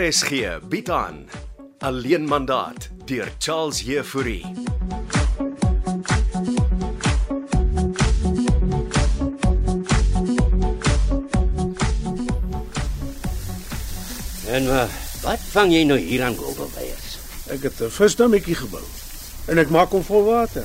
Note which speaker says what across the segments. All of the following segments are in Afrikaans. Speaker 1: RSG bied aan Alleen mandaat deur Charles Heffouri.
Speaker 2: En uh, wat vang jy nou hier aan Goldenbeiers?
Speaker 3: Ek het 'n visdammetjie gebou en ek maak hom vol water.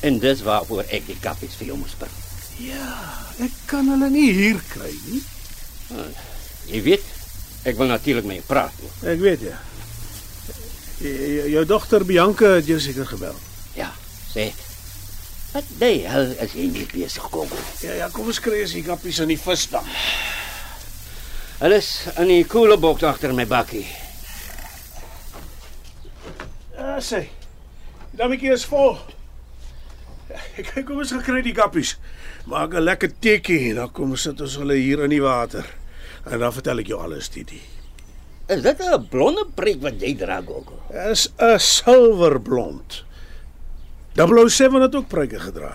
Speaker 2: En dis waarvoor ek die kappies vir jou moes bring.
Speaker 3: Ja, ek kan hulle nie hier kry nie.
Speaker 2: Jy weet, ek wil natuurlik met jou praat. hoor.
Speaker 3: Ek weet ja. J- j- Jou dogter Bianca het jou seker gebel.
Speaker 2: Ja, sê. Wat die hel is jy nie besig kom?
Speaker 3: Ja ja, kom ons kry eens die kappies in die visdam.
Speaker 2: Hulle is in die koeleboks agter my bakkie.
Speaker 3: Ja, sê. Die dammetjie is vol. Ek kyk hoe ons gekry die kappies. Maak 'n lekker teekie en dan kom ons sit ons hulle hier in die water. En dan vertel ek jou alles, Titi.
Speaker 2: Is dit 'n blonde prik wat jy dra, Gogo?
Speaker 3: Is 'n silwerblond. 007 het ook pruike gedra.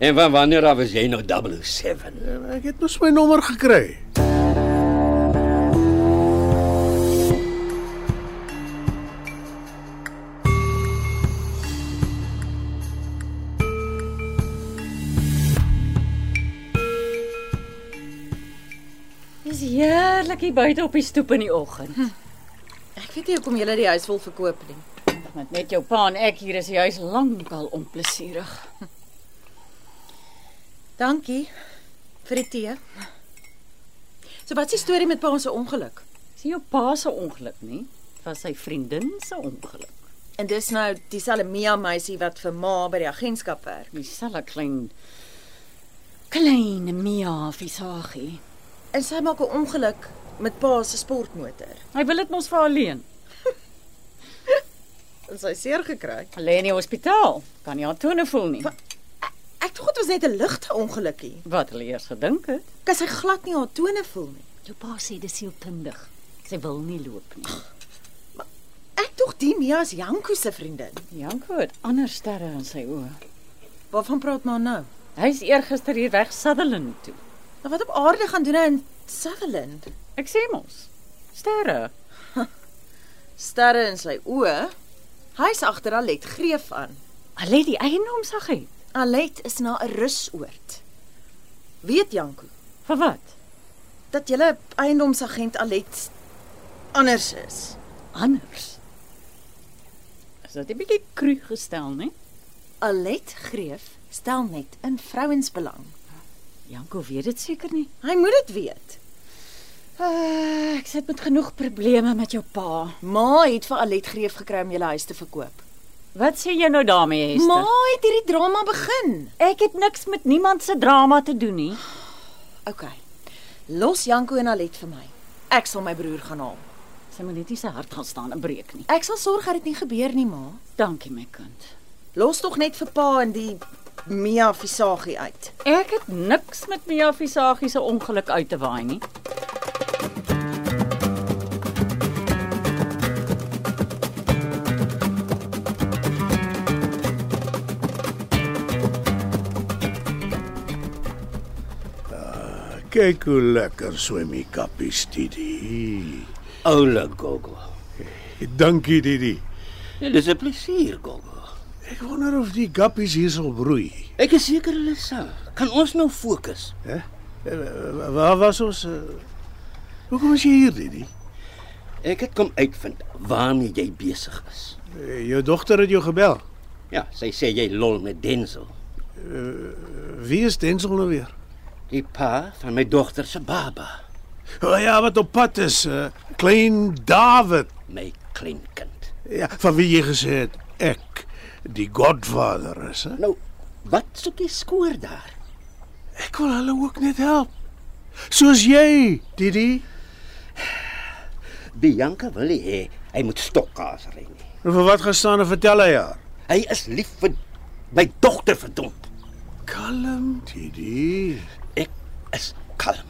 Speaker 2: En van wanneer af is jy nou 007?
Speaker 3: Ek het mos my nommer gekry.
Speaker 4: Dis heerlik hier buite op die stoep in die oggend.
Speaker 5: Ek weet nie hoekom julle die huis wil verkoop nie.
Speaker 4: Want met jou pa en ek hier is die huis lankal onplesierig.
Speaker 5: Dankie vir die tee. So wat is die storie met pa se ongeluk?
Speaker 4: Dis nie jou pa se ongeluk nie, dit was sy vriendin se ongeluk.
Speaker 5: En dis nou dieselfde Mia meisie wat vir ma by die agentskap werk.
Speaker 4: Dieselfde klein klein Mia visagie.
Speaker 5: En sy maak 'n ongeluk met pa se sportmotor.
Speaker 4: Hy wil dit mos vir haar leen.
Speaker 5: En sy seer gekry.
Speaker 4: Lê in die hospitaal. Kan nie haar tone voel nie.
Speaker 5: Wat? Ek dink dit was net 'n ligte ongelukkie.
Speaker 4: Wat hulle eers gedink het.
Speaker 5: Kan sy glad nie haar tone voel nie.
Speaker 4: Jou pa sê dis sielkundig. Sy wil nie loop nie.
Speaker 5: Ek tog die Mia is Janko se vriendin.
Speaker 4: Janko het ander sterre in sy oë.
Speaker 5: Waarvan praat ma nou?
Speaker 4: Hy's eergister hier weg Sutherland toe.
Speaker 5: Nou wat op aarde gaan doen hy in Sutherland?
Speaker 4: Ek sê mos. Sterre.
Speaker 5: Sterre in sy oë. Hy's agter Alet Greef aan.
Speaker 4: Hulle het die eiendomsagent.
Speaker 5: Alet is na 'n rusoord. Weet Janko
Speaker 4: Vir wat?
Speaker 5: dat julle eiendomsagent Alet anders is.
Speaker 4: Anders. Is dit 'n bietjie kru gestel, né?
Speaker 5: Alet Greef stel net in vrouensbelang.
Speaker 4: Janko weet dit seker nie.
Speaker 5: Hy moet dit weet.
Speaker 4: Uh, ek sit met genoeg probleme met jou pa.
Speaker 5: Ma het vir Alet Greef gekry om julle huis te verkoop.
Speaker 4: Wat sê jy nou daarmee, Hester?
Speaker 5: Ma het hierdie drama begin.
Speaker 4: ek het niks met niemand se drama te doen nie.
Speaker 5: OK. Los Janko en Alet vir my. Ek sal my broer gaan haal.
Speaker 4: Sy moet net nie sy hart gaan staan en breek nie.
Speaker 5: Ek sal sorg dat dit nie gebeur nie, ma.
Speaker 4: Dankie my kind.
Speaker 5: Los tog net vir pa en die Mia Visagie uit.
Speaker 4: Ek het niks met Mia Visagie se ongeluk uit te waai nie.
Speaker 3: Kyk hoe lekker swem die kappies, Didi.
Speaker 2: Oule Gogo.
Speaker 3: Dankie, Didi.
Speaker 2: Ja, dis 'n plesier, Gogo.
Speaker 3: Ek wonder of die kappies hier sal broei.
Speaker 2: Ek is seker hulle sal. Kan ons nou fokus?
Speaker 3: Hè? Eh, Waar was ons? eh? Hoekom is jy hier, Didi?
Speaker 2: Ek het kom uitvind waarmee jy besig is.
Speaker 3: Eh, Jou dogter het jou gebel.
Speaker 2: Ja, sy sê jy lol met Denzel,
Speaker 3: Wie is Denzel nou weer?
Speaker 2: die pa van my dogter se baba.
Speaker 3: O oh, ja, wat op pad is. eh, Klein David.
Speaker 2: my kleinkind.
Speaker 3: Ja, van wie jy gesê het ek die Godfather is, hè?
Speaker 2: Nou, wat soek jy skoor daar?
Speaker 3: Ek wil hulle ook net help. Soos jy, Didi.
Speaker 2: Bianca wil nie hê hy moet stokkaas ry nie.
Speaker 3: En vir wat gaan staan en vertel hy haar?
Speaker 2: Hy is lief vir my dogter verdomp.
Speaker 3: Kalm, Didi.
Speaker 2: Ek is kalm.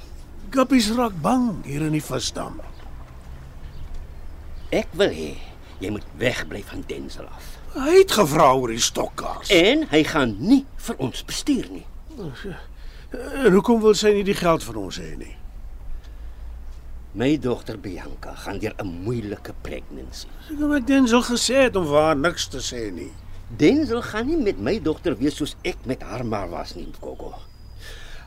Speaker 3: Gappies raak bang hier in die visdam.
Speaker 2: Ek wil hê jy moet wegbly van Denzel af.
Speaker 3: Hy het gevra oor die stokkaars.
Speaker 2: En hy gaan nie vir ons bestuur nie.
Speaker 3: En hoekom wil sy nie die geld van ons hê nie?
Speaker 2: My dogter Bianca gaan deur 'n moeilike pregnancy.
Speaker 3: Seker wat Denzel gesê het om waar niks te sê nie.
Speaker 2: Denzel gaan nie met my dogter wees soos ek met haar maar was nie, Gogo.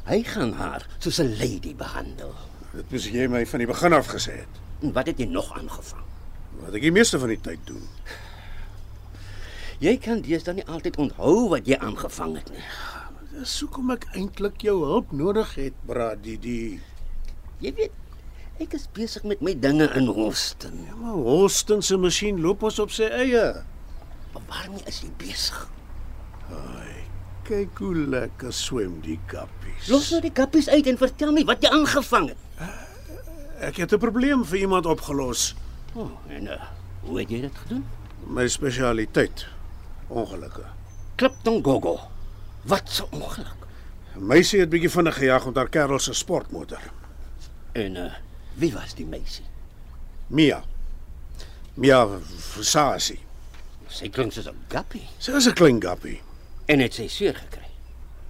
Speaker 2: Hy gaan haar soos 'n lady behandel.
Speaker 3: Dit moes jy my van die begin af gesê het.
Speaker 2: En wat het jy nog aangevang?
Speaker 3: Wat ek die meeste van die tyd doen.
Speaker 2: Jy kan deesdae nie altyd onthou wat jy aangevang het nie.
Speaker 3: Dis hoekom ek eintlik jou hulp nodig het, Brady. Die
Speaker 2: Jy weet, ek is besig met my dinge in Holston.
Speaker 3: ja, maar Holston se masjien loop ons op sy eie.
Speaker 2: Maar waarmee is jy besig?
Speaker 3: Kyk hoe lekker swem die kappies.
Speaker 2: Los nou die kappies uit en vertel my wat jy aangevang het.
Speaker 3: Ek het 'n probleem vir iemand opgelos.
Speaker 2: Oh, en uh, hoe het jy dit gedoen?
Speaker 3: My spesialiteit. Ongelukke.
Speaker 2: Klipton Gogo. Wat 'n ongeluk.
Speaker 3: 'n Meisie het bietjie vinnig gejaag met haar kerel se sportmotor.
Speaker 2: En uh, wie was die meisie?
Speaker 3: Mia. Mia Versasi.
Speaker 2: Sy klink soos 'n gappie
Speaker 3: Sy is 'n klein gappie.
Speaker 2: en het sy seer gekry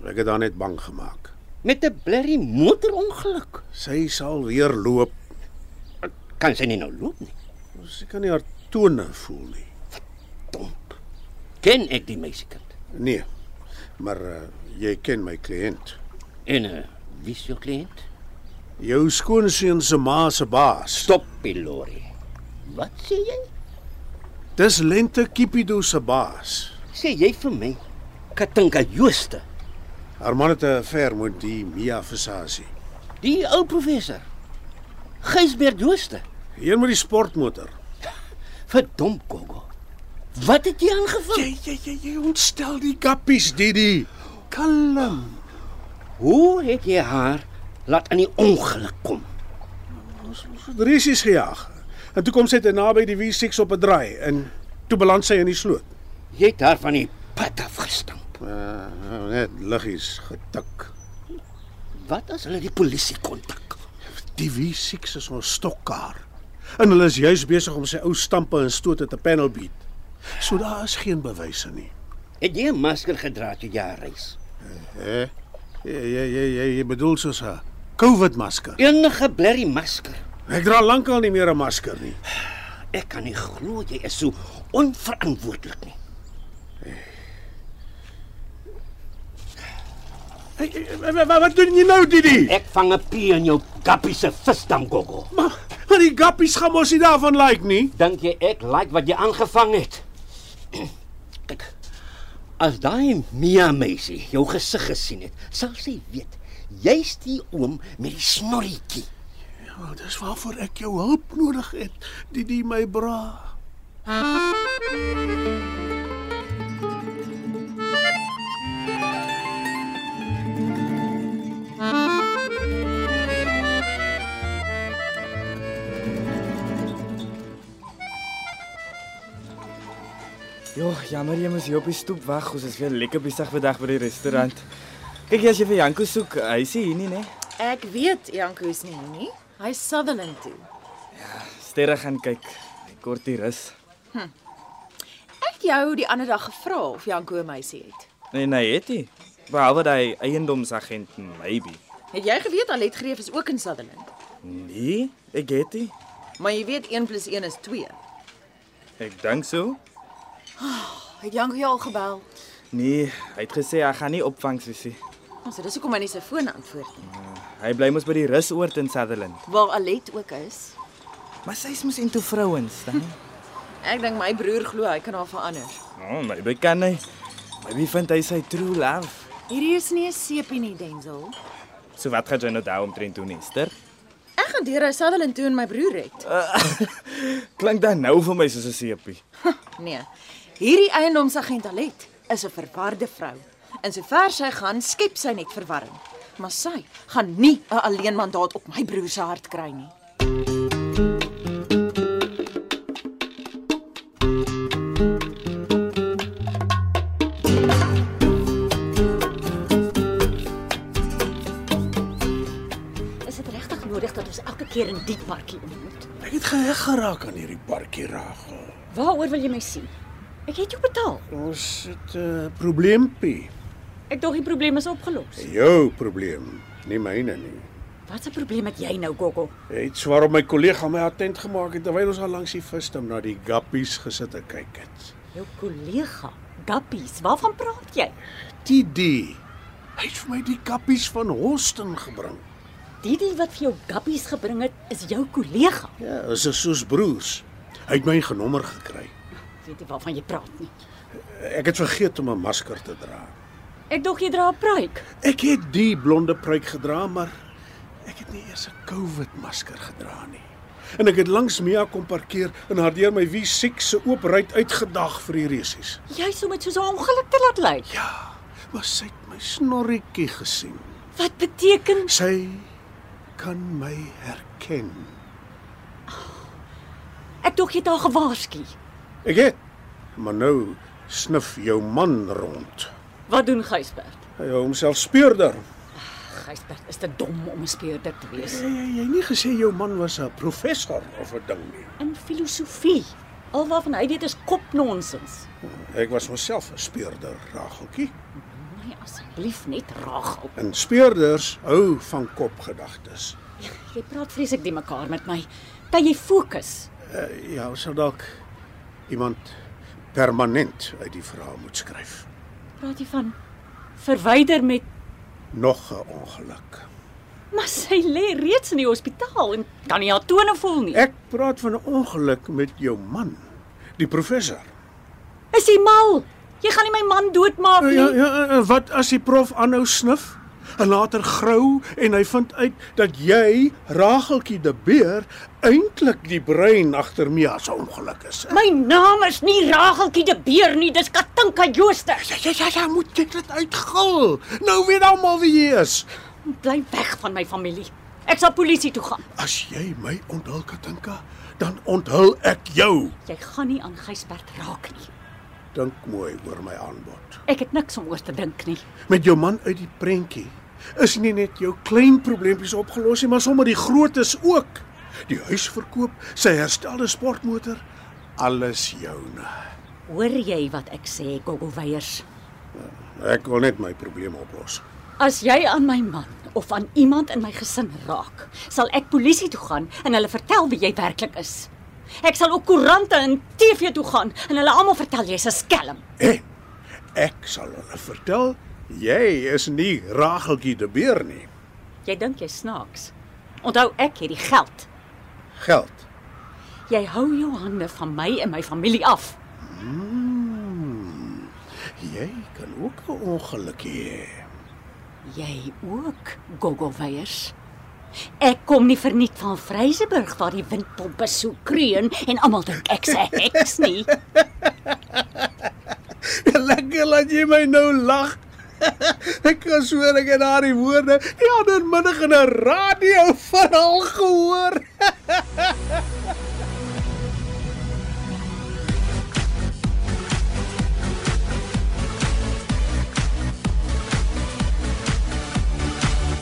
Speaker 3: Ek het haar net bang gemaak.
Speaker 2: met 'n blerrie motorongeluk.
Speaker 3: Sy sal weer loop.
Speaker 2: Kan sy nie nou loop nie.
Speaker 3: Sy kan nie haar tone voel nie.
Speaker 2: Domp. Ken ek die meisiekind?
Speaker 3: Nee. Maar uh, jy ken my kliënt.
Speaker 2: En uh, wie is jou kliënt?
Speaker 3: Jou skoonseun se ma se baas.
Speaker 2: Stop, Pilori. Wat sê jy?
Speaker 3: Dis Lente Kipido se baas.
Speaker 2: Sê jy vir my Katinka Jooste,
Speaker 3: Haar man het 'n affair met die Mia Versasi.
Speaker 2: die ou professor. Gysbert Jooste.
Speaker 3: Hier met die sportmotor.
Speaker 2: Verdomp Gogo. Wat het jy aangevang?
Speaker 3: Jy jy jy, jy ontstel die gappies, Didi. Kalm.
Speaker 2: Hoe het jy haar laat in die ongeluk kom?
Speaker 3: Resies gejaag. En toe kom sy te naby die W6 op 'n draai en toe beland sy in die sloot.
Speaker 2: Jy het haar van die pad af gestamp.
Speaker 3: Uh, net liggies getik.
Speaker 2: Wat as hulle die polisie kontak?
Speaker 3: Die W6 is ons stokkaar. En hulle is juis besig om sy ou stampe en stote te panel beat. So daar is geen bewyse nie.
Speaker 2: Het jy 'n masker gedra toe jy haar reis?
Speaker 3: Hè? Jy jy jy jy bedoel soos 'n COVID masker.
Speaker 2: Enige blerrie masker.
Speaker 3: Ek dra lankal nie meer 'n masker nie.
Speaker 2: Ek kan nie glo jy is so onverantwoordelik nie.
Speaker 3: Hey, hey, wa- wa- wat doen jy nou, Didi?
Speaker 2: Ek vang 'n pie in jou gappie se visdam Gogo.
Speaker 3: Maar maar die gappies gaan mos nie daarvan lyk like nie.
Speaker 2: Dink jy ek like wat jy aangevang het? Kyk. As daai Mia meisie jou gesig gesien het, sal sy weet jy's die oom met die snorretjie.
Speaker 3: Ja, dis waarvoor ek jou hulp nodig het, Didi my bra.
Speaker 6: Jo, jammer jy moes hier op die stoep wag. Ons is weer lekker besig vandag by die restaurant. Kyk jy as jy vir Janko soek, hy is hier nie, né?
Speaker 5: Ek weet Janko is nie hier nie. Hy is Sutherland toe.
Speaker 6: Sterre gaan kyk. Hy kort die rus.
Speaker 5: Ek het jou die ander dag gevra of Janko 'n meisie het.
Speaker 6: Nee, nee, het hy. Behalwe daai eiendomsagent maybe.
Speaker 5: Het jy geweet Alet Greef is ook in Sutherland?
Speaker 6: Nee, ek het hy.
Speaker 5: Maar jy weet 1 + 1 is 2.
Speaker 6: Ek dink so.
Speaker 5: Het Janko jou al gebel?
Speaker 6: Nee, hy het gesê hy gaan nie opvangs wees nie.
Speaker 5: Ons dis hoekom hy nie sy foon antwoord nie.
Speaker 6: Hy bly mos by die rusoord in Sutherland.
Speaker 5: Waar Alet ook is.
Speaker 6: Maar sy's mos into vrouens, dan.
Speaker 5: Ek dink my broer glo hy kan haar verander.
Speaker 6: Nou, maybe kan hy. Maybe vind hy sy true love.
Speaker 5: Hierdie is nie 'n seepie nie, Denzel.
Speaker 6: So wat gaan jy nou daar omtrent doen, Esther?
Speaker 5: Ek gaan deur hy Sutherland toe en my broer red.
Speaker 6: Klink dan nou vir my soos 'n seepie.
Speaker 5: Nee. Hierdie eiendomsagent Alet is 'n verwarde vrou. In sover sy gaan, skep sy net verwarring. Maar sy gaan nie 'n alleenmandaat op my broer se hart kry nie.
Speaker 4: Is dit regtig nodig dat ons elke keer in die parkie ontmoet?
Speaker 3: Ek het geheg geraak aan hierdie parkie Ragel.
Speaker 4: Waaroor wil jy my sien? Ek het jou betaal.
Speaker 3: Ons het 'n uh, probleempie.
Speaker 4: Ek dog die probleem is opgelos.
Speaker 3: Jou probleem, nie myne nie.
Speaker 4: Wat 'n probleem het jy nou, Gogo?
Speaker 3: Iets waarop my kollega my attent gemaak het terwyl ons al langs die visstum na die gappies gesit en kyk het.
Speaker 4: Jou kollega, Gappies, waarvan praat jy?
Speaker 3: TD. Hy het vir my die gappies van Hoston gebring.
Speaker 4: Didi wat vir jou Gappies gebring het, is jou kollega.
Speaker 3: Ja, ons is soos broers. Hy het my genommer gekry.
Speaker 4: Ek weet nie waarvan jy praat nie.
Speaker 3: Ek het vergeet om 'n masker te dra.
Speaker 4: Ek dog jy dra 'n pruik.
Speaker 3: Ek het die blonde pruik gedra, maar ek het nie eers 'n COVID masker gedra nie. En ek het langs Mia kom parkeer en haar deur my wie siek se oop ruit uitgedag vir die resies.
Speaker 4: Jy sou met so 'n ongeluk te laat lyk.
Speaker 3: Ja, maar sy het my snorretjie gesien.
Speaker 4: Wat beteken
Speaker 3: Sy kan my herken.
Speaker 4: ek dog jy het haar gewaarsku?
Speaker 3: Ek het maar nou snuf jou man rond.
Speaker 4: Wat doen Gysbert?
Speaker 3: Hy hou homself speurder.
Speaker 4: Gysbert is te dom om 'n speurder te wees.
Speaker 3: Jy jy het nie gesê jou man was 'n professor of 'n ding nie.
Speaker 4: In filosofie, al waarvan hy weet is kopnonsens.
Speaker 3: Ek was myself 'n speurder, Rageltjie.
Speaker 4: Moenie asseblief net raag op.
Speaker 3: En speurders hou van kopgedagtes.
Speaker 4: Jy praat vreeslik die mekaar met my. Kan jy fokus?
Speaker 3: Uh, ja, ons sal dalk iemand permanent uit die verhaal moet skryf.
Speaker 4: Praat jy van verwyder met
Speaker 3: Nog 'n ongeluk.
Speaker 4: maar sy lê reeds in die hospitaal en kan nie haar tone voel nie.
Speaker 3: Ek praat van 'n ongeluk met jou man, die professor.
Speaker 4: Is jy mal? Jy gaan nie my man doodmaak nie.
Speaker 3: Ja, ja, en wat as die prof aanhou snuf? En later grou en hy vind uit dat jy, Rageltjie de Beer, eintlik die brein agter Mia se ongeluk is.
Speaker 4: My naam is nie Rageltjie de Beer nie, dis Katinka Jooster.
Speaker 3: Ja, ja, ja, ja, moet jy dit uitgil. Nou weet almal wie jy is.
Speaker 4: Bly weg van my familie. Ek sal polisie toe gaan.
Speaker 3: As jy my onthul, Katinka, dan onthul ek jou.
Speaker 4: Jy gaan nie aan Gysbert raak nie.
Speaker 3: Dink mooi oor my aanbod.
Speaker 4: Ek het niks om oor te dink nie.
Speaker 3: Met jou man uit die prentjie is nie net jou klein probleempies opgelos nie, maar sommer die grootes ook. Die huis verkoop, sy herstelde sportmotor, alles joune.
Speaker 4: Hoor jy wat ek sê, Gogo Weyers?
Speaker 3: Ek wil net my probleem oplos.
Speaker 4: As jy aan my man of aan iemand in my gesin raak, sal ek polisie toe gaan en hulle vertel wie jy werklik is. Ek sal ook koerante en TV toe gaan en hulle almal vertel jy's 'n skelm.
Speaker 3: En ek sal hulle vertel jy is nie Rageltjie de Beer nie.
Speaker 4: Jy dink jy's snaaks. Onthou ek het die geld.
Speaker 3: Geld.
Speaker 4: Jy hou jou hande van my en my familie af.
Speaker 3: Hmm, jy kan ook 'n ongeluk hê.
Speaker 4: Jy ook, Gogo Weyers. Ek kom nie verniet van Vryseburg waar die windpompe so kreun en almal dink ek's 'n heks nie.
Speaker 3: Lekker laat jy my nou lag. ek kan swer ek het daardie woorde die ander middag in 'n radio verhaal gehoor.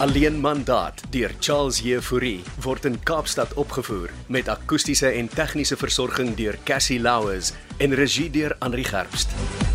Speaker 1: Alleen mandaat deur Charles Jefouri word in Kaapstad opgevoer met akoestiese en tegniese versorging deur Cassie Louws en regie deur Henri Gerst.